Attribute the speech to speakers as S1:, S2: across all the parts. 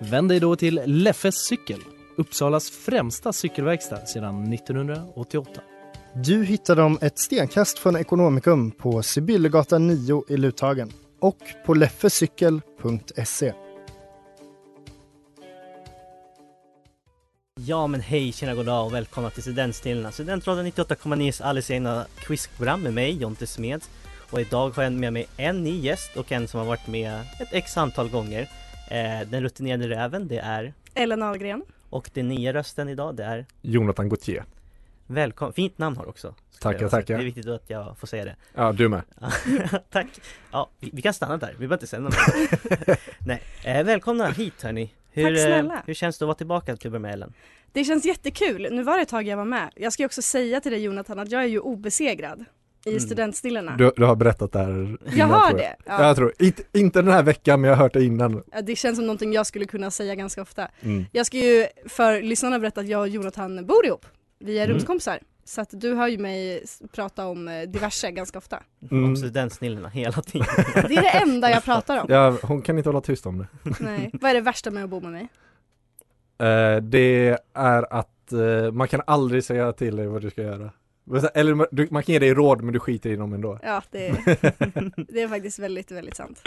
S1: Vänd dig då till Leffes cykel, Uppsalas främsta cykelverkstad sedan 1988.
S2: Du hittar dem ett stenkast från Ekonomikum på Sibyllegatan 9 i Luthagen och på leffecykel.se.
S3: Ja men hej, tjena, goddag och välkomna till Studentstilarna Studentradion 98,9s alldeles egna quizprogram med mig, Jonte Smeds Och idag har jag med mig en ny gäst och en som har varit med ett x antal gånger eh, Den rutinerade räven, det är
S4: Ellen Ahlgren.
S3: Och den nya rösten idag, det är
S5: Jonathan Gauthier.
S3: Välkommen, fint namn har du också skulle
S5: Tackar,
S3: jag säga.
S5: tackar.
S3: Det är viktigt att jag får säga det
S5: Ja, du med.
S3: Tack! Ja, vi, vi kan stanna där, vi behöver inte säga något mer. Nej, eh, välkomna hit hörni! Hur,
S4: Tack
S3: eh,
S4: snälla.
S3: Hur känns det att vara tillbaka till att börja med Ellen?
S4: Det känns jättekul. Nu var det ett tag jag var med. Jag ska ju också säga till dig Jonathan att jag är ju obesegrad i
S3: Mm.
S4: Studentsnillena.
S5: Du, du har berättat det här innan,
S4: Jag har
S5: tror
S4: det.
S5: Ja.
S4: Ja.
S5: Jag tror, inte, inte den här veckan men jag har hört det innan.
S4: Ja, Det känns som någonting jag skulle kunna säga ganska ofta. Jag ska ju för lyssnarna berätta att jag och Jonathan bor ihop. Vi är
S5: Mm.
S4: rumskompisar. Så att du hör ju mig s- prata om eh, diverse ganska ofta.
S5: Mm.
S3: Om studentsnillena hela tiden
S4: Det är det enda jag pratar om.
S5: Ja, hon kan inte hålla tyst om det.
S4: Nej. Vad är det värsta med att bo med mig?
S5: Eh, det är att eh, man kan aldrig säga till dig vad du ska göra. Men så- Eller man- du, man kan ge dig råd men du skiter i dem ändå.
S4: Ja, det, det är faktiskt väldigt, väldigt sant.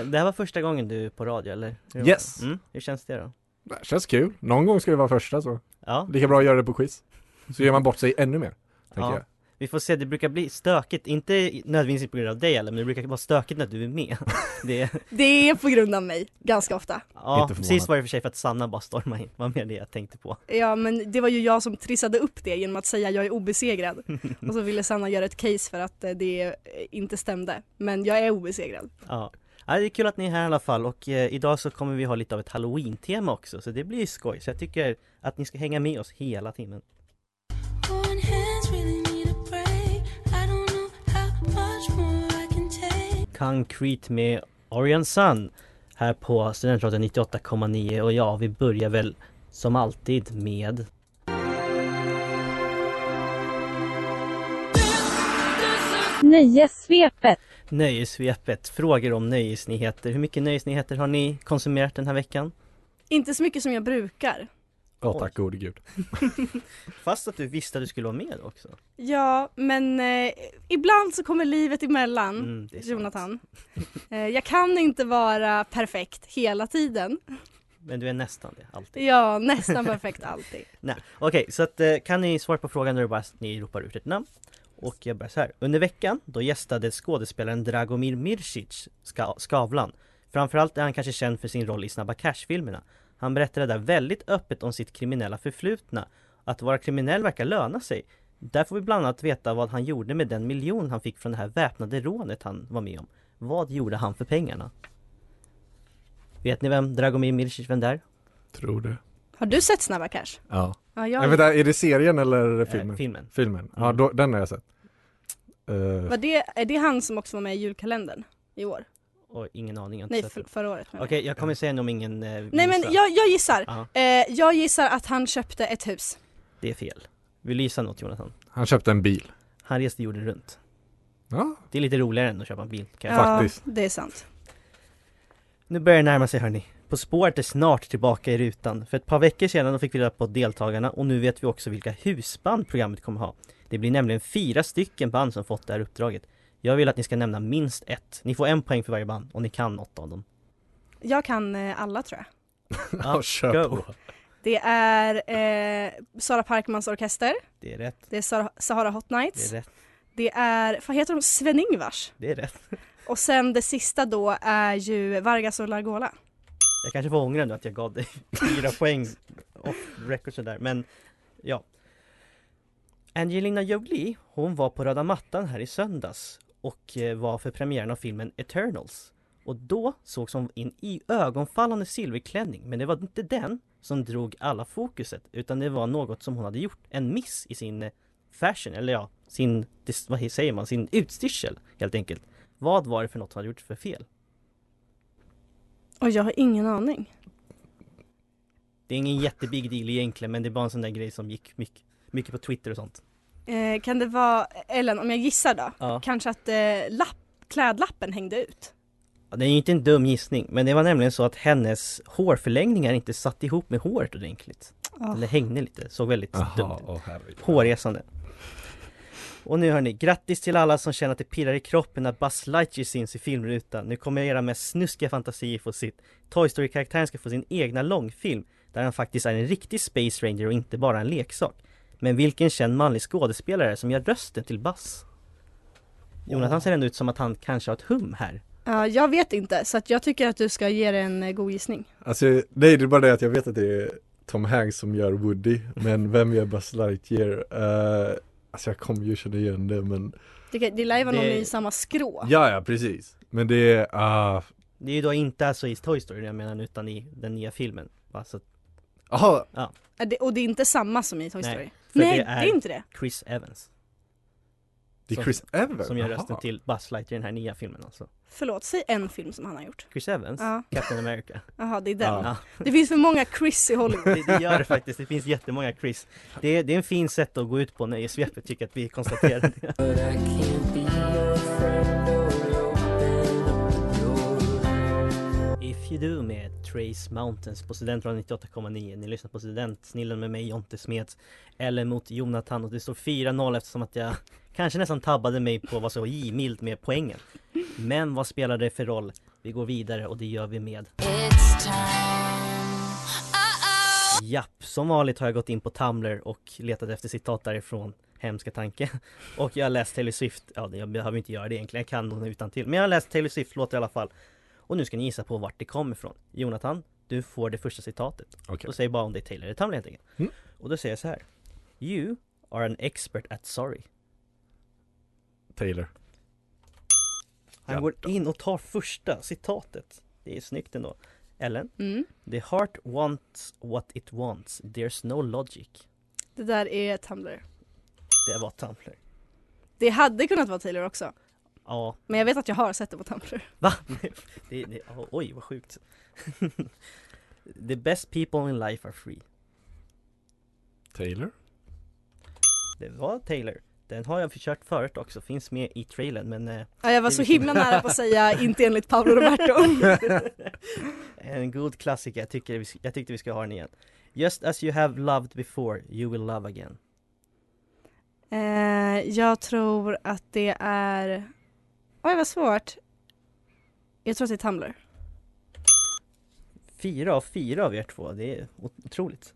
S3: Eh, Det här var första gången du är på radio eller? Hur var
S5: Yes.
S3: det? Mm, hur känns det då?
S5: Det här känns kul. Någon gång ska vi vara första så.
S3: Ja,
S5: Lika bra att göra det på quiz. Så gör man bort sig ännu mer. Tänker
S3: Ja.
S5: jag.
S3: vi får se, det brukar bli stökigt, inte nödvändigtvis på grund av dig eller men det brukar vara stökigt när du är med det,
S4: Det är på grund av mig, ganska ofta.
S3: Ja,
S5: Inte förvånad.
S3: precis var det för sig för att Sanna bara stormade in, vad mer det jag tänkte på
S4: Ja men det var ju jag som trissade upp det genom att säga jag är obesegrad. Och så ville Sanna göra ett case för att eh, det eh, inte stämde. Men jag är obesegrad.
S3: Ja, ja det är kul att ni är här i alla fall och eh, idag så kommer vi ha lite av ett halloween-tema också så det blir ju skoj så jag tycker att ni ska hänga med oss hela timmen
S6: One hands really need a break. I don't know how much more I can take.
S3: Concrete med Orion Sun här på Studentradion 98,9 och ja, vi börjar väl som alltid med
S7: Nöjessvepet.
S3: Nöjessvepet, frågor om nöjesnyheter. Hur mycket nöjesnyheter har ni konsumerat den här veckan?
S4: Inte så mycket som jag brukar.
S5: Åh tack gode gud.
S3: Fast att du visste att du skulle vara med också.
S4: Ja men eh, ibland så kommer livet emellan.
S3: Mm, det är sant.
S4: Jonathan. Eh, jag kan inte vara perfekt hela tiden.
S3: Men du är nästan det, alltid.
S4: Ja nästan perfekt alltid.
S3: Nej. Okej, så att, eh, kan ni svara på frågan när det bara ni ropar ut ett namn? Och jag börjar så här. Under veckan, då gästade skådespelaren Dragomir Mirsic Ska- Skavlan. Framförallt är han kanske känd för sin roll i Snabba Cash-filmerna. Han berättade där väldigt öppet om sitt kriminella förflutna. Att vara kriminell verkar löna sig. Där får vi bland annat veta vad han gjorde med den miljon han fick från det här väpnade rånet han var med om. Vad gjorde han för pengarna? Vet ni vem Dragomir Mirsic, vem det är?
S5: Tror det.
S4: Har du sett Snabba Cash?
S5: Ja.
S4: Ja,
S5: Nej,
S4: jag...
S5: vänta, är det serien eller filmen?
S3: Eh, filmen.
S5: Filmen. Ja, då, den har jag sett. Eh,
S4: Var det, är det han som också var med i julkalendern i år?
S3: Och ingen aning, jag har inte
S4: Nej
S3: sett
S4: för,
S3: den.
S4: förra året. menar
S3: Okej,
S4: jag.
S3: jag kommer säga om ingen eh,
S4: Nej men
S3: gissar.
S4: jag, jag gissar.
S3: Ja,
S4: Eh, jag gissar att han köpte ett hus.
S3: det är fel. Vill du gissa något Jonathan?
S5: han köpte en bil.
S3: Han reste jorden runt.
S5: Ja,
S3: Det är lite roligare än att köpa en bil kanske.
S5: Faktiskt.
S4: Ja, det är sant.
S3: Nu börjar det närma sig hörni. På spåret är snart tillbaka i rutan. För ett par veckor sedan fick vi reda på deltagarna och nu vet vi också vilka husband programmet kommer ha. Det blir nämligen fyra stycken band som fått det här uppdraget. Jag vill att ni ska nämna minst ett. Ni får en poäng för varje band om ni kan något av dem.
S4: Jag kan eh, alla tror jag.
S3: Ja,
S5: kör
S3: go.
S5: på.
S4: Det är eh, Sara Parkmans orkester,
S3: Det är rätt,
S4: det är Sara, Sahara Hot
S3: det är
S4: Nights,
S3: rätt,
S4: det är, vad heter de, Sven-Ingvars?
S3: det är rätt.
S4: Och sen det sista då är ju Vargas och Largola.
S3: Jag kanske får ångra nu att jag gav dig fyra poäng off record sådär, men ja. Angelina Jolie, hon var på röda mattan här i söndags och eh, var för premiären av filmen Eternals. Och då sågs hon i en i ögonfallande silverklänning, men det var inte den som drog alla fokuset, utan det var något som hon hade gjort, en miss i sin eh, fashion, eller ja, sin, dis- vad säger man, sin utstyrsel helt enkelt. Vad var det för något hon hade gjort för fel?
S4: Och jag har ingen aning.
S3: Det är ingen jättebig deal egentligen, men det är bara en sån där grej som gick mycket, mycket på Twitter och sånt.
S4: Eh, kan det vara, Ellen om jag gissar då,
S3: Ja.
S4: kanske att eh, lapp, klädlappen hängde ut?
S3: Ja, Det är ju inte en dum gissning, men det var nämligen så att hennes hårförlängningar inte satt ihop med håret ordentligt.
S4: Ah.
S3: Eller hängde lite, såg väldigt dumt ut.
S1: åh herregud.
S3: Hårresande. Och nu hörni, grattis till alla som känner att det pirrar i kroppen när Buzz Lightyear syns i filmrutan. Nu kommer era mest snuskiga fantasier få sitt. Toy Story-karaktären ska få sin egna långfilm där han faktiskt är en riktig Space Ranger och inte bara en leksak. Men vilken känd manlig skådespelare som gör rösten till Buzz? Jonathan ser ändå ut som att han kanske har ett hum här.
S4: Ja, jag vet inte, så att jag tycker att du ska ge det en eh, god gissning.
S5: Alltså, nej det är bara det att jag vet att det är Tom Hanks som gör Woody, men vem gör Buzz Lightyear? Uh, alltså jag kommer ju känna igen det men
S4: Det, kan- det lär ju vara någon
S3: Det-
S4: i samma skrå.
S5: Ja, ja precis. Men det är, ah,
S3: Det är ju då inte alltså i Toy Story jag menar utan i den nya filmen. Va? Så att
S5: aha,
S4: Är det- Och det är inte samma som i Toy
S3: Nej,
S4: Story? Nej,
S3: för
S4: Nej
S3: det
S4: det,
S3: är-
S4: är... inte det.
S3: Chris Evans
S5: det är
S3: Som-
S5: Chris Evans.
S3: som gör
S5: Aha.
S3: rösten till Buzz Lightyear i den här nya filmen alltså.
S4: Förlåt, säg en film som han har gjort.
S3: Chris Evans,
S4: Ja,
S3: Captain America.
S4: jaha det är den.
S3: Ja.
S4: Det finns för många Chris i Hollywood.
S3: Det, det gör det faktiskt, det finns jättemånga Chris. Det, är- det är en fin sätt att gå ut på nöjesvepet tycker jag att vi konstaterar det. If you do med Trace Mountains på Studentradion 98,9. Ni lyssnar på Studentsnillen med mig Jonte Smeds eller mot Jonathan och det står 4-0 eftersom att jag kanske nästan tabbade mig på vad som var givmilt med poängen. Men vad spelar det för roll? Vi går vidare och det gör vi med
S6: It's time. Uh-oh.
S3: Japp, som vanligt har jag gått in på Tumblr och letat efter citat därifrån Hemska tanke. Och jag har läst Taylor Swift, ja det- jag behöver inte göra det egentligen, jag kan hon utan till. Men jag har läst Taylor Swift låt i alla fall. Och nu ska ni gissa på vart det kommer ifrån. Jonathan, du får det första citatet.
S1: Okej.
S3: Och säg bara om det är Taylor eller Tumblr helt enkelt.
S1: Mm.
S3: Och då säger jag så här. You are an expert at sorry.
S1: Taylor.
S3: Han
S1: Ja,
S3: går in och tar första citatet. Det är snyggt ändå. Ellen,
S4: Mm.
S3: the heart wants what it wants, there's no logic.
S4: Det där är Tumblr.
S3: Det var Tumblr.
S4: Det hade kunnat vara Taylor också.
S3: Ja,
S4: Men jag vet att jag har sett det på Tumblr.
S3: Va? Det, det, oh, oj, vad sjukt. The best people in life are free.
S1: Taylor?
S3: Det var Taylor. Den har jag försökt förut också, finns med i trailern men... eh,
S4: Ja, jag var så himla nära på att säga inte enligt Paolo Roberto.
S3: en god klassiker, jag, tycker vi, jag tyckte vi skulle ha den igen. Just as you have loved before, you will love again.
S4: Eh, jag tror att det är... Oj vad svårt. Jag tror att det är Tumblr.
S3: Fyra av fyra av er två, det är otroligt.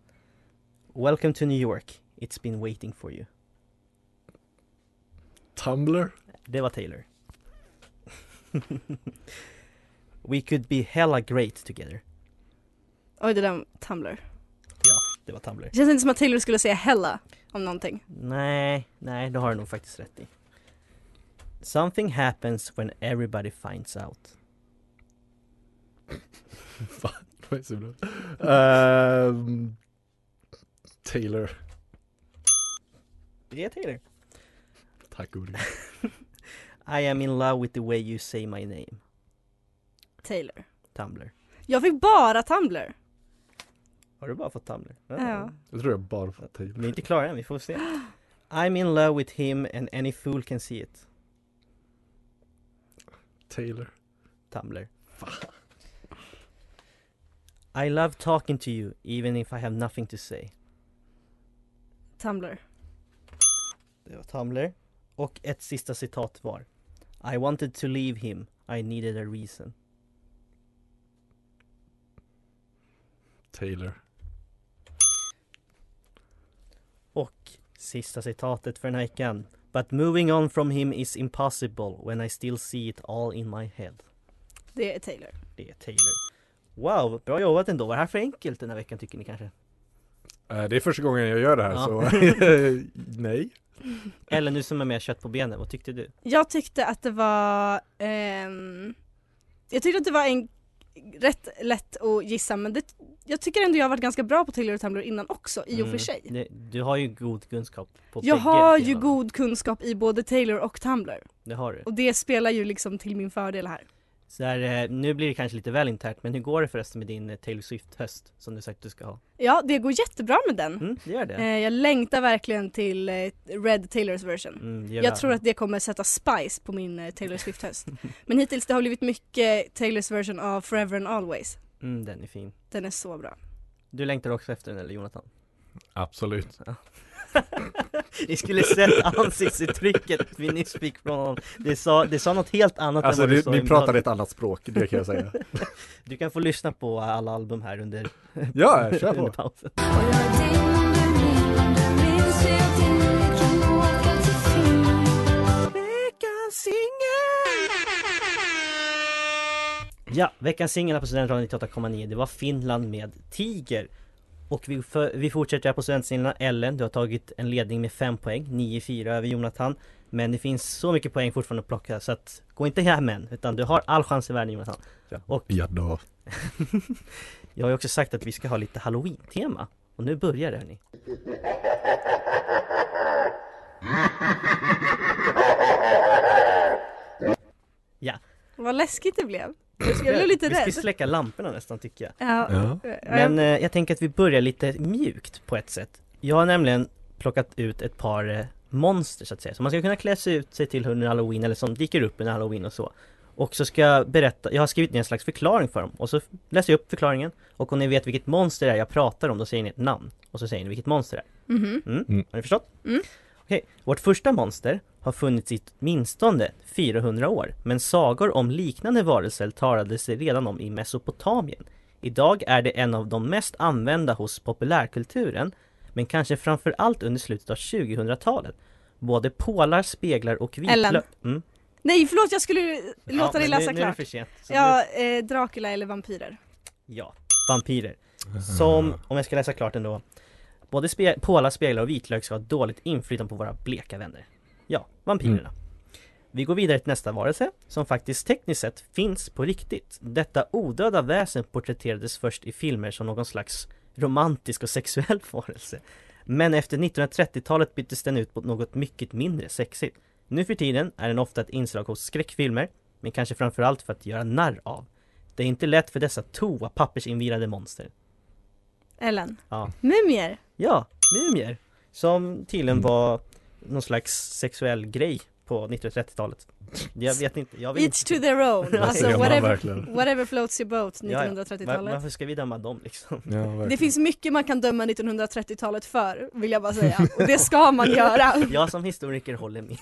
S3: Welcome to New York, it's been waiting for you.
S5: Tumblr.
S3: Det var Taylor. We could be hella great together.
S4: Oj det där Tumblr.
S3: Det var Tumblr.
S4: Det känns inte som att Taylor skulle säga hella om någonting.
S3: Nej, nej, det har du nog faktiskt rätt i. Something happens when everybody finds out.
S5: Det var så bra. Ehm, Taylor.
S3: Det är Taylor.
S5: Tack Uri.
S3: I am in love with the way you say my name.
S4: Taylor.
S3: Tumblr.
S4: Jag fick bara Tumblr.
S3: Har du bara fått Tumblr?
S4: Ja.
S5: Jag tror jag bara fått
S3: Vi är
S5: Taylor.
S3: inte klara än, vi får se. I'm in love with him and any fool can see it.
S5: Taylor.
S3: Tumblr. I love talking to you even if I have nothing to say.
S4: Tumblr.
S3: Det var eh, Tumblr. Och ett sista citat var. I wanted to leave him, I needed a reason.
S5: Taylor.
S3: Och sista citatet för den här veckan. But moving on from him is impossible when I still see it all in my head.
S4: Det är Taylor.
S3: Det är Taylor. Wow, bra jobbat ändå. Var det här för enkelt den här veckan tycker ni kanske?
S5: Eh, det är första gången jag gör det här
S3: Ja.
S5: så nej.
S3: Eller nu som är med kött på benen, vad tyckte du?
S4: Jag tyckte att det var ehm, Jag tyckte att det var en rätt lätt att gissa men det, jag tycker ändå jag har varit ganska bra på Taylor och Tumbler innan också i och för
S3: Mm.
S4: sig.
S3: Det- Du har ju god kunskap på
S4: Jag
S3: bägge
S4: har ju
S3: delarna.
S4: god kunskap i både Taylor och Tumblr
S3: Det har du.
S4: och det spelar ju liksom till min fördel här.
S3: Så här, eh, nu blir det kanske lite väl internt, men hur går det förresten med din eh, Taylor Swift-höst som du sagt du ska ha?
S4: Ja, det går jättebra med den.
S3: Mm, det gör det.
S4: Eh, Jag längtar verkligen till eh, Red Taylors version.
S3: Mm, det gör
S4: Jag tror att det kommer sätta spice på min eh, Taylor Swift-höst. Men hittills det har blivit mycket Taylors version av Forever and Always.
S3: Mm, den är fin.
S4: Den är så bra.
S3: Du längtar också efter den eller Jonathan?
S5: Absolut.
S3: Ni skulle sett ansiktsuttrycket vi nyss fick från honom. Det sa, det sa något helt annat
S5: Alltså
S3: än vad du
S5: ni,
S3: sa i
S5: ni
S3: början.
S5: pratar ett annat språk, det kan jag säga.
S3: Du kan få lyssna på alla album här under,
S5: Ja, kör
S3: under
S5: på.
S3: pausen. Veckans singel! Ja, veckans singel här på Studentradion 98,9 Det var Finland med Tiger Och vi, för, vi fortsätter här på Studentsinglarna Ellen, du har tagit en ledning med 5 poäng 9-4 över Jonathan Men det finns så mycket poäng fortfarande att plocka så att Gå inte hem än, utan du har all chans i världen Jonathan
S5: Ja då.
S3: Jag har ju också sagt att vi ska ha lite halloween-tema Och nu börjar det hörni
S4: Vad läskigt det blev. Jag blev lite
S3: Vi
S4: rädd.
S3: ska släcka lamporna nästan tycker jag
S4: Ja.
S5: Ja.
S4: Ja, jag-
S3: Men eh, jag tänker att vi börjar lite mjukt på ett sätt Jag har nämligen plockat ut ett par eh, monster så att säga Som man ska kunna klä sig ut sig till under halloween eller som dyker upp under halloween och så Och så ska jag berätta, jag har skrivit ner en slags förklaring för dem Och så läser jag upp förklaringen Och om ni vet vilket monster det är jag pratar om då säger ni ett namn Och så säger ni vilket monster det är
S4: Mhm.
S3: Mm.
S5: Mm.
S3: Har ni förstått?
S4: Mm.
S3: Okej, vårt första monster har funnits i åtminstone 400 år, men sagor om liknande varelser talades det redan om i Mesopotamien. Idag är det en av de mest använda hos populärkulturen, men kanske framför allt under slutet av 2000-talet. Både pålar, speglar och
S4: Ellen.
S3: vitlök... Mm.
S4: Nej förlåt jag skulle låta dig
S3: men nu, Nu är
S4: läsa
S3: det
S4: klart.
S3: för sent. Så
S4: Ja, eh, Dracula eller vampyrer.
S3: Ja, vampyrer. Som, om jag ska läsa klart ändå, både spe- pålar, speglar och vitlök ska ha dåligt inflytande på våra bleka vänner. Ja, vampyrerna. Vi går vidare till nästa varelse, som faktiskt tekniskt sett finns på riktigt. Detta odöda väsen porträtterades först i filmer som någon slags romantisk och sexuell varelse. Men efter 1930-talet byttes den ut mot något mycket mindre sexigt. Nu för tiden är den ofta ett inslag hos skräckfilmer, men kanske framförallt för att göra narr av. Det är inte lätt för dessa toapappersinvirade monster.
S4: Ellen.
S3: Ja.
S4: Mumier.
S3: Ja, mumier! Som tydligen var någon slags sexuell grej på 1930-talet. Jag vet inte, jag vet
S4: Each to
S3: inte.
S4: their own.
S3: Ja,
S4: Alltså
S3: man
S4: whatever,
S5: verkligen.
S4: whatever floats your boat
S3: Ja, ja. Var,
S4: 1930-talet.
S3: varför ska vi döma dem liksom?
S5: Ja, verkligen.
S4: Det finns mycket man kan döma 1930-talet för, vill jag bara säga. Och det ska man göra.
S3: Jag som historiker håller med.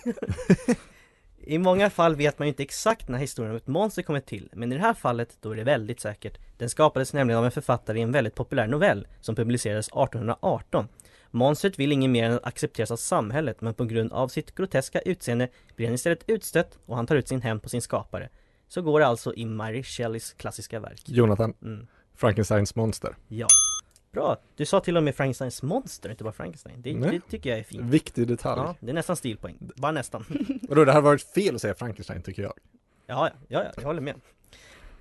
S3: I många fall vet man ju inte exakt när historien om ett monster kommer till, men i det här fallet då är det väldigt säkert. Den skapades nämligen av en författare i en väldigt populär novell som publicerades 1818. Monstret vill inget mer än att accepteras av samhället, men på grund av sitt groteska utseende blir han istället utstött och han tar ut sin hämnd på sin skapare. Så går det alltså i Mary Shelleys klassiska verk.
S5: Jonathan,
S3: Mm.
S5: Frankensteins monster.
S3: Ja. Bra! Du sa till och med Frankensteins monster, inte bara Frankenstein. Det,
S5: Nej.
S3: det tycker jag är fint.
S5: Viktig detalj.
S3: Ja, det är nästan stilpoäng. Bara nästan.
S5: Vadå, det hade varit fel att säga Frankenstein tycker jag.
S3: Ja, ja, ja, ja, jag håller med.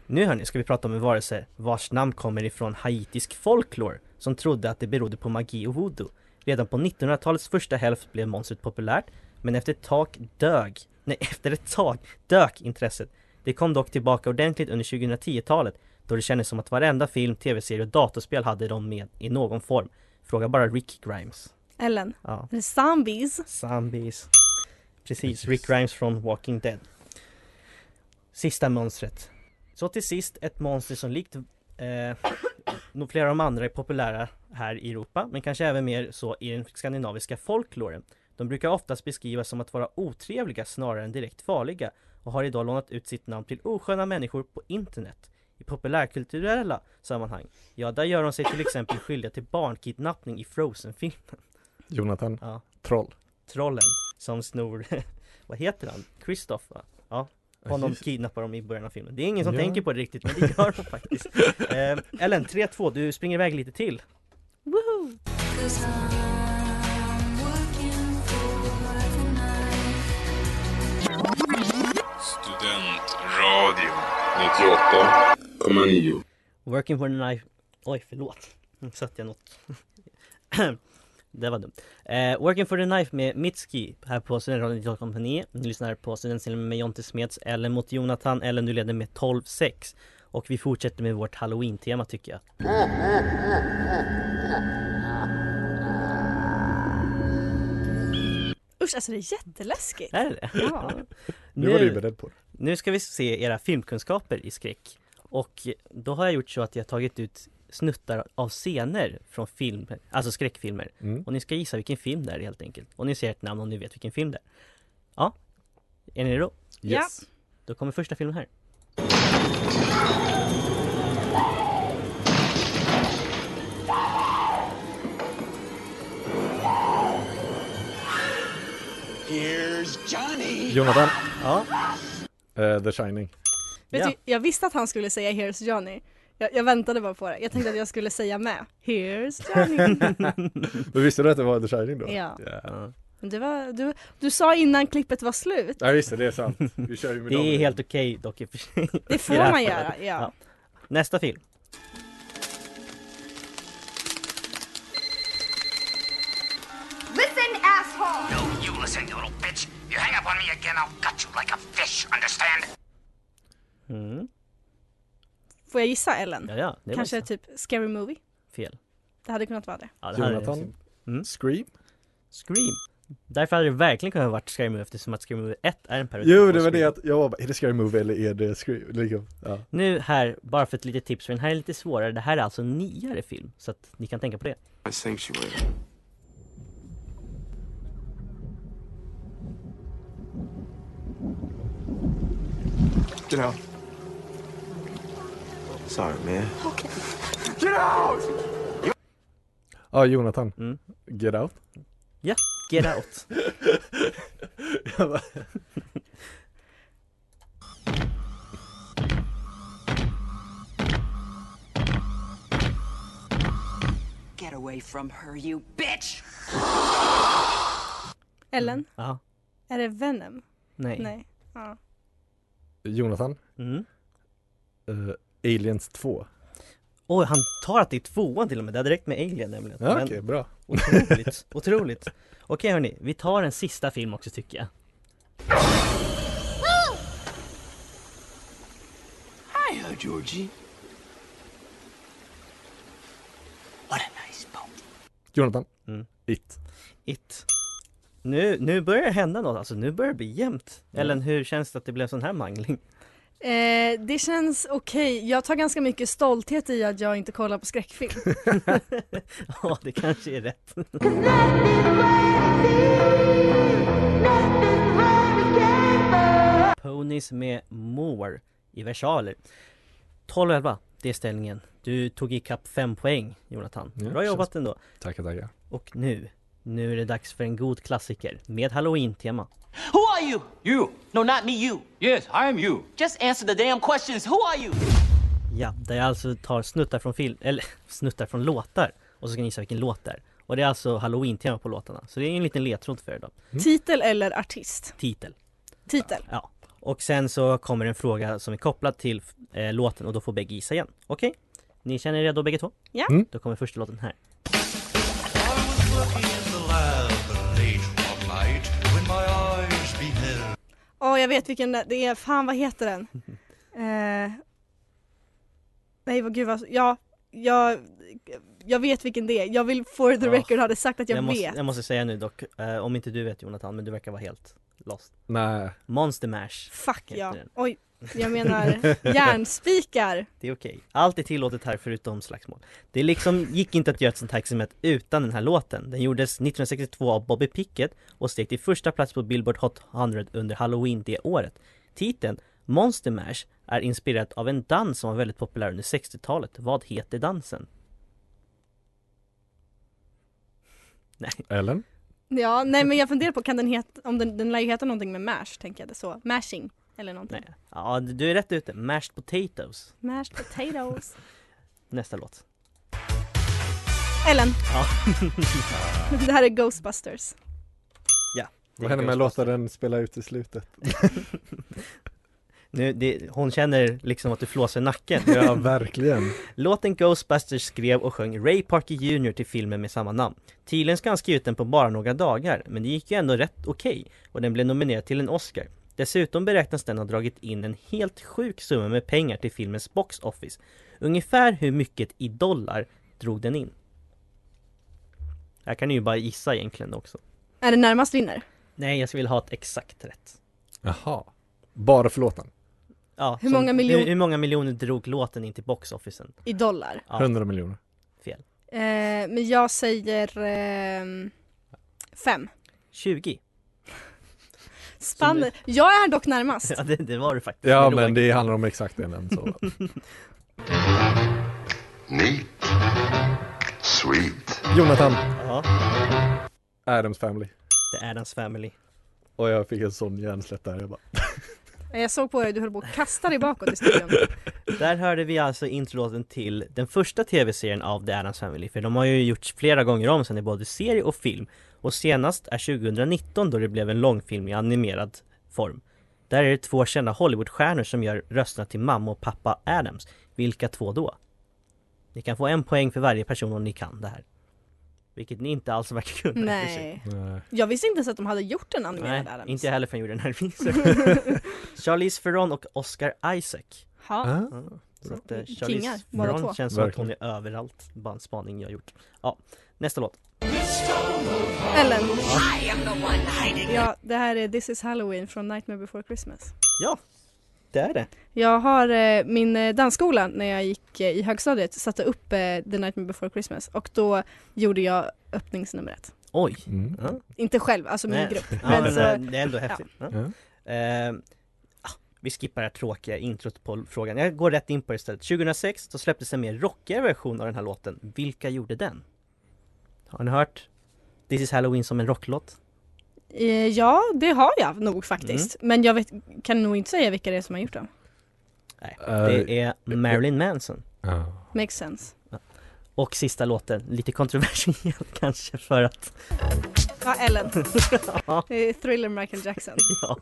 S3: Nu hörni ska vi prata om en varelse vars namn kommer ifrån haitisk folklore som trodde att det berodde på magi och voodoo. Redan på 1900-talets första hälft blev monstret populärt, men efter ett tag dög, nej efter ett tag dök intresset. Det kom dock tillbaka ordentligt under 2010-talet då det kändes som att varenda film, tv-serie och datorspel hade dem med i någon form. Fråga bara Rick Grimes.
S4: Ellen,
S3: Ja.
S4: the zombies.
S3: Zombies. Precis, Rick Grimes från Walking Dead. Sista monstret. Så till sist ett monster som likt eh, nog flera av de andra är populära här i Europa, men kanske även mer så i den skandinaviska folkloren. De brukar oftast beskrivas som att vara otrevliga snarare än direkt farliga och har idag lånat ut sitt namn till osköna människor på internet. I populärkulturella sammanhang, ja där gör de sig till exempel skyldiga till barnkidnappning i Frozen-filmen.
S5: Jonathan,
S3: Ja
S5: troll.
S3: trollen som snor, vad heter han? Kristoff va? Honom kidnappar de i början av filmen. Det är ingen som
S5: Ja.
S3: tänker på det riktigt men det gör de faktiskt. Eh, Ellen, 3-2, du springer iväg lite till.
S4: Woohoo!
S8: Studentradion. 98,9
S3: Working for the life... Oj, förlåt. Nu satte Mm, jag något. det var dumt. Eh, Working for the knife med Mitski här på Studentradion 98,9. Ni lyssnar på Studentcellen med Jonte Smeds eller mot Jonathan eller nu leder med 12-6. Och vi fortsätter med vårt halloween-tema tycker jag.
S4: Usch, alltså det är jätteläskigt.
S3: Är det det?
S4: Ja.
S5: Nu var du ju beredd på det.
S3: Nu ska vi se era filmkunskaper i skräck. Och då har jag gjort så att jag tagit ut snuttar av scener från film, alltså skräckfilmer.
S5: Mm.
S3: Och ni ska gissa vilken film det är helt enkelt. Och ni säger ett namn om ni vet vilken film det är. Ja, är ni redo?
S5: Yes.
S3: Då kommer första filmen här.
S5: Jonathan,
S3: Ja,
S5: eh, The Shining.
S4: Vet
S3: Ja.
S4: du, jag visste att han skulle säga Here's Johnny. Jag, jag väntade bara på det. Jag tänkte att jag skulle säga med. Here's Johnny.
S5: Men visste du att det var The Shining då?
S4: Ja.
S5: Ja,
S4: Men Det var, du, du sa innan klippet var slut.
S5: ja visst det, är sant. Vi kör ju med
S3: det
S5: dem.
S3: är helt okej dock i och för sig.
S4: Det
S3: I
S4: får
S3: det här
S4: man
S3: fallet.
S4: göra. Ja.
S3: Nästa film.
S7: Listen, asshole!
S9: No, you listen, you little bitch. You hang up on me again, I'll gut you like a fish, understand?
S3: Mm.
S4: Får jag gissa Ellen?
S3: Ja, ja, det var
S4: Kanske
S3: så.
S4: typ Scary Movie?
S3: fel.
S4: Det hade kunnat vara det.
S3: Ja, det här är-
S5: Jonathan,
S3: Mm.
S5: Scream.
S3: Scream. Därför hade det verkligen kunnat varit Scary Movie eftersom att Scary Movie 1 är en parodi
S5: Jo,
S3: på
S5: det var det
S3: Scream. Mm.
S5: att jag var bara, är det Scary Movie eller är det Scream? Liksom. Ja.
S3: Nu här, bara för ett litet tips, för den här är lite svårare. Det här är alltså en nyare film, så att ni kan tänka på det.
S8: My sanctuary Get out Sorry man
S5: ja, Jonathan.
S3: Mm.
S5: Get Out.
S3: Get Out.
S5: Jag bara,
S9: Get away from her, you bitch!
S4: Ellen,
S3: Ja,
S4: är det Venom?
S3: Mm. nej.
S4: Nej. Ja.
S5: Jonathan,
S3: Mm.
S5: eh, Aliens 2.
S3: Oj, han tar att det är tvåan till och med. Det är direkt med Alien nämligen.
S5: Ja,
S3: Men
S5: Okej, bra.
S3: Otroligt, otroligt. Okej hörni, vi tar en sista film också tycker jag.
S9: Hiya, Georgie. What a nice boat.
S5: Jonathan,
S3: Mm.
S5: It.
S3: It. Nu, nu börjar det hända något, alltså nu börjar det bli jämnt. Ellen, hur känns det att det blev sån här mangling?
S4: Eh, det känns okej. Jag tar ganska mycket stolthet i att jag inte kollar på skräckfilm.
S3: Ja, det kanske är rätt. Ponies med More i versaler. 12 och 11, det är ställningen. Du tog ikapp 5 poäng, Jonathan.
S5: Ja,
S3: Bra jobbat ändå.
S5: Tackar, tackar.
S3: Och nu, nu är det dags för en god klassiker med halloween-tema.
S9: Who are you? You. No, not me, you. Yes, I am you. Just answer the damn questions. Who are you?
S3: Ja, där jag alltså tar snuttar från film, eller snuttar från låtar och så ska ni gissa vilken låt det är. Och det är alltså halloween-tema på låtarna. Så det är en liten ledtråd för er idag.
S4: Titel eller artist?
S3: Titel.
S4: Titel.
S3: Ja. Och sen så kommer en fråga som är kopplad till eh, låten och då får bägge gissa igen. Okej? Ni känner er redo bägge två?
S4: Ja.
S5: Mm.
S3: Då kommer första låten här.
S4: Åh, jag vet vilken det det är. Fan, vad heter den? Eh, nej, vad gud vad... Ja, jag, jag vet vilken det är. Jag vill for the
S3: Ja.
S4: record ha det sagt att jag,
S3: måste,
S4: vet.
S3: jag måste säga nu dock, eh, om inte du vet Jonathan, men du verkar vara helt lost.
S5: Nej,
S3: Monster Mash.
S4: Fuck
S3: heter
S4: ja.
S3: den.
S4: Oj, jag menar järnspikar.
S3: Det är okej. Allt är tillåtet här förutom slagsmål. Det liksom gick inte att göra ett sånt här experiment utan den här låten. Den gjordes 1962 av Bobby Pickett och steg till första plats på Billboard Hot 100 under Halloween det året. Titeln Monster Mash är inspirerad av en dans som var väldigt populär under 60-talet. Vad heter dansen? Nej,
S5: Ellen?
S4: Ja, nej men jag funderar på, kan den heta, om den, den lär ju heta någonting med mash, tänker jag det så. Mashing, eller någonting.
S3: nej. Ja, du är rätt ute. Mashed Potatoes.
S4: Mashed potatoes.
S3: Nästa låt.
S4: Ellen,
S3: Ja.
S4: det här är Ghostbusters.
S5: Vad händer med att låta den spela ut i slutet?
S3: Nu, det, hon känner liksom att du flåsar i nacken.
S5: Ja, verkligen.
S3: Låten Ghostbusters skrev och sjöng Ray Parker Jr till filmen med samma namn. Tydligen ska han ha skrivit den på bara några dagar, men det gick ju ändå rätt okej och den blev nominerad till en Oscar. Dessutom beräknas den ha dragit in en helt sjuk summa med pengar till filmens box office. Ungefär hur mycket i dollar drog den in? Jag kan ni ju bara gissa egentligen också.
S4: Är det närmast vinner?
S3: Nej, jag vill ha ett exakt rätt.
S5: Jaha. Bara för låten?
S3: Ja,
S4: Hur
S3: som-
S4: många miljon-
S3: hur, hur många miljoner drog låten in till box officen?
S4: I dollar.
S3: Ja.
S5: 100 miljoner.
S4: Eh, men jag säger ehm, fem.
S3: 20?
S4: Spannet. Jag är dock närmast.
S3: Ja, det, det var det faktiskt.
S5: Ja,
S3: Det
S5: men
S3: låg-
S5: det handlar om exakt en än så.
S7: Neat. Sweet.
S5: Jonathan,
S3: Ja,
S5: Adams Family.
S3: det är Addams Family.
S5: Och jag fick en sån hjärnsläpp där. Jag bara,
S4: Jag såg på dig du höll på att kasta dig bakåt i studion.
S3: Där hörde vi alltså introlåten till den första tv-serien av The Addams Family, för de har ju gjorts flera gånger om sen i både serie och film. Och senast är 2019 då det blev en långfilm i animerad form. Där är det två kända Hollywoodstjärnor som gör rösterna till mamma och pappa Addams. Vilka två då? Ni kan få en poäng för varje person om ni kan det här. Vilket ni inte alls verkar kunna. i och för sig.
S4: Nej.
S5: nej.
S4: Jag visste inte ens att de hade gjort en animerad
S3: Nej,
S4: Adams.
S3: inte jag heller förrän jag gjorde den här researchen. Charlize Theron och Oscar Isaac.
S4: Ha.
S5: Ah,
S3: Så att eh,
S4: Kingar,
S3: Charlize
S4: båda
S3: Theron
S4: två.
S3: känns som att hon
S5: Verkligen.
S3: är överallt, bara en spaning jag gjort. Ja, nästa låt.
S4: Ellen. Ja, det här är This is Halloween från Nightmare before Christmas.
S3: Ja, det är det.
S4: Jag har eh, min eh, dansskola när jag gick eh, i högstadiet satte upp eh, The Nightmare before Christmas och då gjorde jag öppningsnumret.
S3: Oj!
S5: Mm.
S3: Ja.
S4: Inte själv, alltså min
S3: Nej.
S4: grupp.
S3: Ja,
S4: Men
S3: men,
S4: så-
S3: eh, det är ändå häftigt. Ja.
S5: Ja.
S3: Ehm, ah, vi skippar det här tråkiga introt på frågan. Jag går rätt in på det istället. 2006 då släpptes en mer rockigare version av den här låten. Vilka gjorde den? Har ni hört? This is Halloween som en rocklåt.
S4: Eh, Ja, det har jag nog faktiskt.
S3: Mm.
S4: Men jag vet, kan nog inte säga vilka det är som har gjort dem.
S3: Nej,
S5: Eh,
S3: det är Marilyn Manson.
S5: Ja.
S4: Makes sense.
S3: Och sista låten, lite kontroversiell kanske för att
S4: Ja, Ellen. Det är thriller Michael Jackson.
S3: Ja.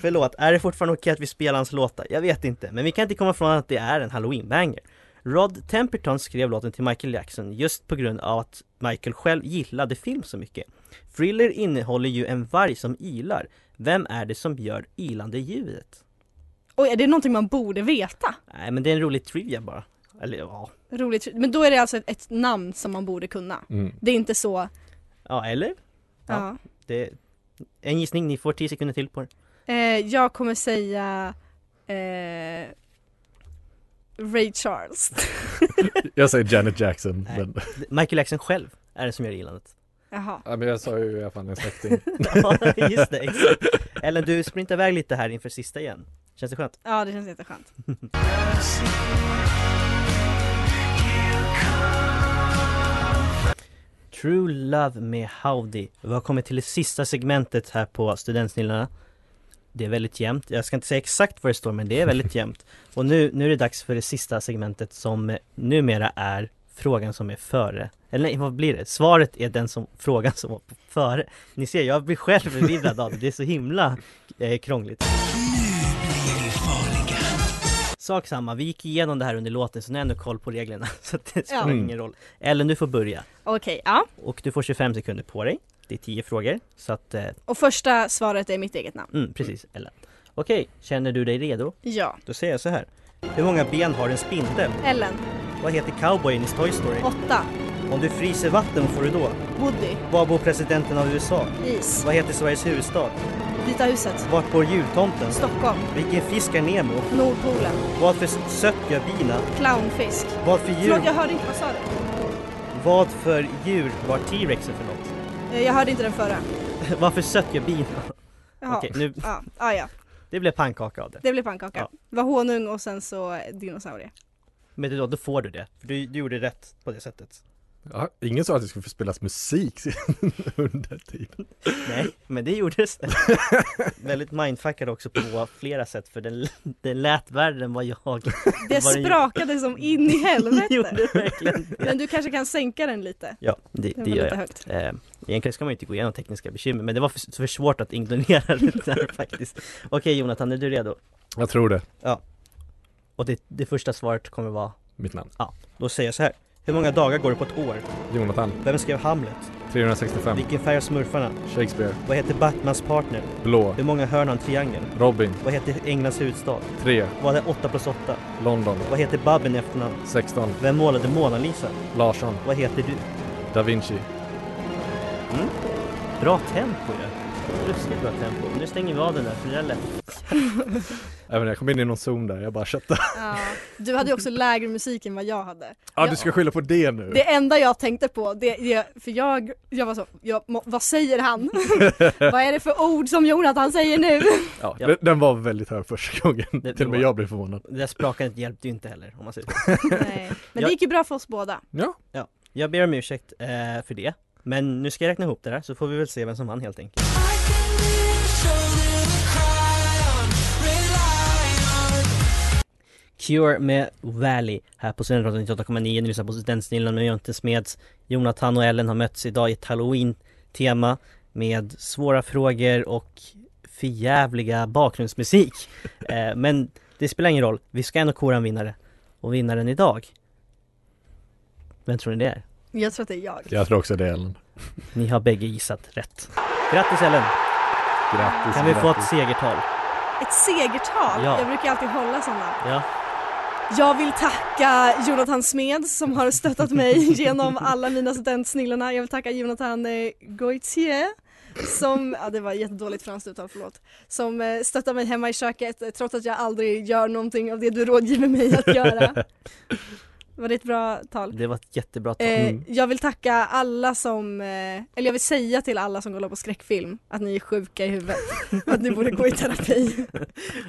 S3: Förlåt, är det fortfarande okej att vi spelar hans låtar? Jag vet inte, men vi kan inte komma ifrån att det är en halloween-banger. Rod Temperton skrev låten till Michael Jackson just på grund av att Michael själv gillade film så mycket. Thriller innehåller ju en varg som ylar. Vem är det som gör ylande ljudet?
S4: Oj, är det någonting man borde veta?
S3: Nej, men det är en rolig trivia bara. Eller ja,
S4: Roligt. Men då är det alltså ett, ett namn som man borde kunna.
S5: Mm.
S4: Det är inte så...
S3: ja eller?
S4: Ja.
S3: Det är en gissning, ni får 10 sekunder till på det.
S4: Eh, jag kommer säga... Eh, Ray Charles.
S5: Jag säger Janet Jackson.
S3: Nej.
S5: Men,
S3: Michael Jackson själv är det som gör ilandet.
S4: Jaha.
S5: ja, men jag sa ju i alla fall en släkting.
S3: Ja, just det, exakt. Ellen, du sprintar iväg lite här inför sista igen. Känns det skönt?
S4: Ja, det känns jätteskönt.
S3: True Love med Howdy. Vi har kommit till det sista segmentet här på Studentsnillena. Det är väldigt jämnt. Jag ska inte säga exakt vad det står, men det är väldigt jämnt. Och nu, nu är det dags för det sista segmentet som eh, numera är frågan som är före. Eller nej, vad blir det? Svaret är den som, frågan som var före. Ni ser, jag blir själv förvirrad av det. Det är så himla eh, krångligt. Sak samma, vi gick igenom det här under låten så nu har jag ändå koll på reglerna. Så att det spelar
S4: Ja.
S3: ingen roll. Ellen, du får börja.
S4: Okej, ja.
S3: Och du får 25 sekunder på dig. Det är 10 frågor. Så att, eh,
S4: Och första svaret är mitt eget namn.
S3: mm, precis Ellen. Okej, känner du dig redo?
S4: Ja.
S3: Då säger jag så här. Hur många ben har en spindel?
S4: Ellen.
S3: Vad heter cowboyen i Toy Story?
S4: Åtta.
S3: Om du fryser vatten, vad får du då?
S4: Woody.
S3: Var bor presidenten av USA?
S4: Is.
S3: Vad heter Sveriges huvudstad?
S4: Vita huset.
S3: Vart bor jultomten?
S4: Stockholm.
S3: Vilken fisk är Nemo?
S4: Nordpolen.
S3: Vad för sött gör bina?
S4: Clownfisk.
S3: Vad för
S4: Förlåt, jag
S3: djur?
S4: hörde inte. Vad sa du?
S3: Vad för djur var T-rexen för något?
S4: Eh, Jag hörde inte den förra.
S3: vad för sött gör bina?
S4: Jaha.
S3: Okej, nu,
S4: Ja, ja, ja.
S3: det blev pannkaka av det.
S4: Det blev pannkaka.
S3: Ja.
S4: Det var honung och sen så dinosaurie.
S3: Men då, då får du det. För du, du gjorde rätt på det sättet.
S5: Ja, ingen sa att det skulle få spelas musik under tiden.
S3: Nej, men det gjordes det. Väldigt mindfuckad också på flera sätt för den, den lät värre än vad jag
S4: Det
S3: vad den
S4: sprakade som in i helvete.
S3: gjorde verkligen.
S4: Men du kanske kan sänka den lite?
S3: Ja, det,
S4: Den
S3: det
S4: var
S3: gör
S4: lite
S3: jag.
S4: högt.
S3: Eh, egentligen ska man ju inte gå igenom tekniska bekymmer, men det var för, för svårt att ignorera det där faktiskt. Okej Jonathan, är du redo?
S5: Jag tror det.
S3: Och det, det första svaret kommer vara,
S5: Mitt namn.
S3: då säger jag så här. Hur många dagar går det på ett år?
S5: Jonathan.
S3: Vem skrev Hamlet?
S5: 365.
S3: Vilken färg har smurfarna?
S5: Shakespeare.
S3: Vad heter Batmans partner?
S5: Blå.
S3: Hur många hörn har en triangel?
S5: Robin.
S3: Vad heter Englands huvudstad?
S5: 3.
S3: Vad är 8 plus 8?
S5: London.
S3: Vad heter Babben i efternamn?
S5: 16.
S3: Vem målade Mona Lisa?
S5: Larsson.
S3: Vad heter du?
S5: Da Vinci.
S3: Bra tempo ju! Ruskigt bra tempo. Nu stänger vi av den där, för det där lät
S5: Även jag kom in i någon zon där, jag bara köpte.
S4: Ja. Du hade ju
S3: Mm.
S4: också lägre musik än vad jag hade.
S5: Ja, du ska skylla på det nu.
S4: Det enda jag tänkte på, det, det, för jag, jag var så, jag, må- vad säger han? vad är det för ord som Jonathan säger nu?
S5: Ja,
S3: Ja.
S5: den- Den var väldigt hög första gången.
S3: Det-
S5: Till och med
S3: det var-
S5: jag blev förvånad.
S3: Det där sprakandet hjälpte ju inte heller om man säger så.
S4: Nej.
S3: Jag-
S4: Men det gick ju bra för oss båda.
S5: Ja.
S3: Jag ber om ursäkt eh, för det. Men nu ska jag räkna ihop det där så får vi väl se vem som vann helt
S6: I
S3: enkelt.
S6: can be a shoulder to cry on, rely on.
S3: Cure med Valley här på Studentradion 98,9. Ni lyssnar på Studentsnillan med Jonte Smeds. Jonathan och Ellen har mötts idag i ett halloween-tema med svåra frågor och förjävliga bakgrundsmusik. eh, men det spelar ingen roll, vi ska ändå kora en vinnare. Och vinnaren idag, vem tror ni det är?
S4: Jag tror att det är jag.
S5: Jag tror också det Ellen.
S3: Ni har bägge gissat rätt. Grattis Ellen!
S5: Grattis.
S3: Kan vi få ett
S5: grattis.
S3: segertal?
S4: Ett segertal,
S3: Ja.
S4: jag brukar alltid hålla sådana.
S3: Ja.
S4: Jag vill tacka Jonathan Smed som har stöttat mig genom alla mina studentsnillorna. Jag vill tacka Jonathan eh, Goitier som, ja det var jättedåligt franskt uttal, förlåt, som eh, stöttar mig hemma i köket eh, trots att jag aldrig gör någonting av det du rådgiver mig att göra. Var det ett bra tal?
S3: Det var ett jättebra tal. Mm.
S4: Eh, jag vill tacka alla som, eh, eller jag vill säga till alla som kollar på skräckfilm att ni är sjuka i huvudet och att ni borde gå i terapi.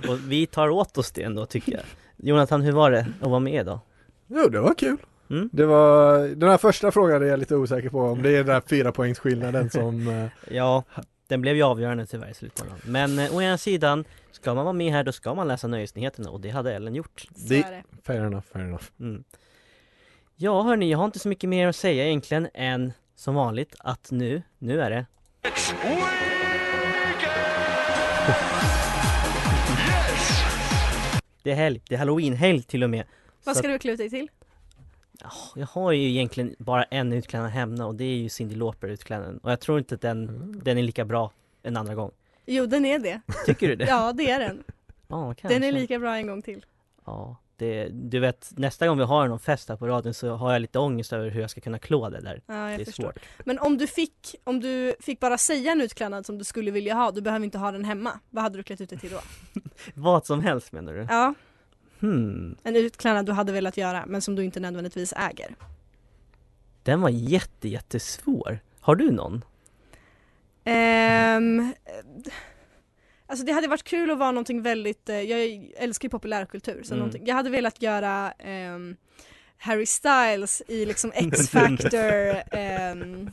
S3: Och vi tar åt oss det ändå tycker jag. Jonathan, hur var det att vara med idag?
S5: Jo, det var kul.
S3: Mm.
S5: Det var, den här första frågan är jag lite osäker på om det är den här fyra poängsskillnaden som eh,
S3: Ja, den blev ju avgörande tyvärr i slutändan. Men eh, å ena sidan, ska man vara med här då ska man läsa nöjesnyheterna och det hade Ellen gjort.
S4: Så
S5: Det-
S4: är det.
S5: Fair enough, fair enough.
S3: Mm. Ja hörni, jag har inte så mycket mer att säga egentligen än som vanligt att nu, nu är det Det är helg, det är halloweenhelg till och med.
S4: Vad
S3: Så
S4: ska du klä ut dig till?
S3: att jag har ju egentligen bara en utklädnad hemma och det är ju Cyndi Lauper utklädnaden. Och jag tror inte att den, den är lika bra en andra gång.
S4: Jo den är det.
S3: Tycker du det?
S4: Ja det är den.
S3: Ja, kanske.
S4: Den är lika bra en gång till.
S3: Ja, det, du vet nästa gång vi har någon fest här på radion så har jag lite ångest över hur jag ska kunna klå det där.
S4: Ja, jag
S3: det är
S4: förstår.
S3: svårt.
S4: Men om du, fick, om du fick bara säga en utklädnad som du skulle vilja ha, du behöver inte ha den hemma. Vad hade du klätt ut dig till då?
S3: Vad som helst menar du?
S4: Ja,
S3: Hmm,
S4: en utklädnad du hade velat göra men som du inte nödvändigtvis äger.
S3: den var jätte, jättesvår. Har du någon?
S4: Ehm, eh, alltså det hade varit kul att vara någonting väldigt, eh, jag älskar ju populärkultur, så
S3: Mm.
S4: någonting, jag hade velat göra ehm, Harry Styles i liksom X-Factor ehm,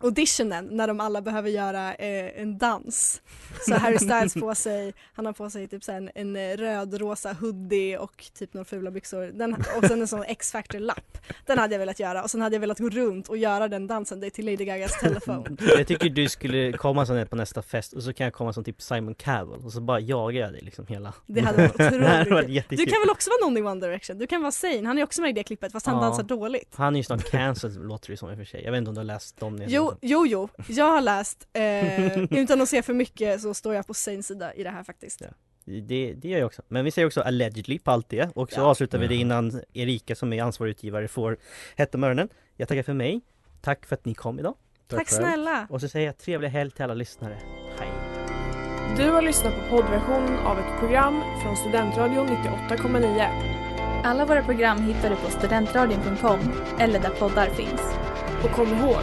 S4: auditionen när de alla behöver göra eh, en dans. Så Harry Styles på sig, han har på sig typ så här en, en eh, röd-rosa hoodie och typ några fula byxor den, och sen en sån X-Factor-lapp. Den hade jag velat göra och sen hade jag velat gå runt och göra den dansen, det är till Lady Gagas telefon.
S3: Jag tycker du skulle komma som på nästa fest och så kan jag komma som typ Simon Cowell och så bara jagar jag dig liksom hela...
S4: Det hade varit
S3: Det hade
S4: otroligt
S3: varit
S4: kul.
S3: jättekul.
S4: Du kan väl också vara någon i One Direction? Du kan vara Zayn, han är också med i det klippet fast han
S3: Ja.
S4: dansar dåligt.
S3: Han är ju snart cancelled låter det ju som i och för sig. Jag vet inte om du har läst dem?
S4: Jo, jo, jo, jag har läst, eh, utan att se för mycket så står jag på Zayns sida i det här faktiskt.
S3: Ja. Det, det gör jag också. Men vi säger också allegedly på allt det och så
S4: Ja.
S3: avslutar vi det innan Erika som är ansvarig utgivare får hett om öronen. Jag tackar för mig. Tack för att ni kom idag.
S4: Tack, snälla!
S3: Och så säger jag trevlig helg till alla lyssnare. Hej!
S10: Du har lyssnat på poddversionen av ett program från Studentradion 98,9.
S11: Alla våra program hittar du på studentradion.com eller där poddar finns.
S10: Och kom ihåg,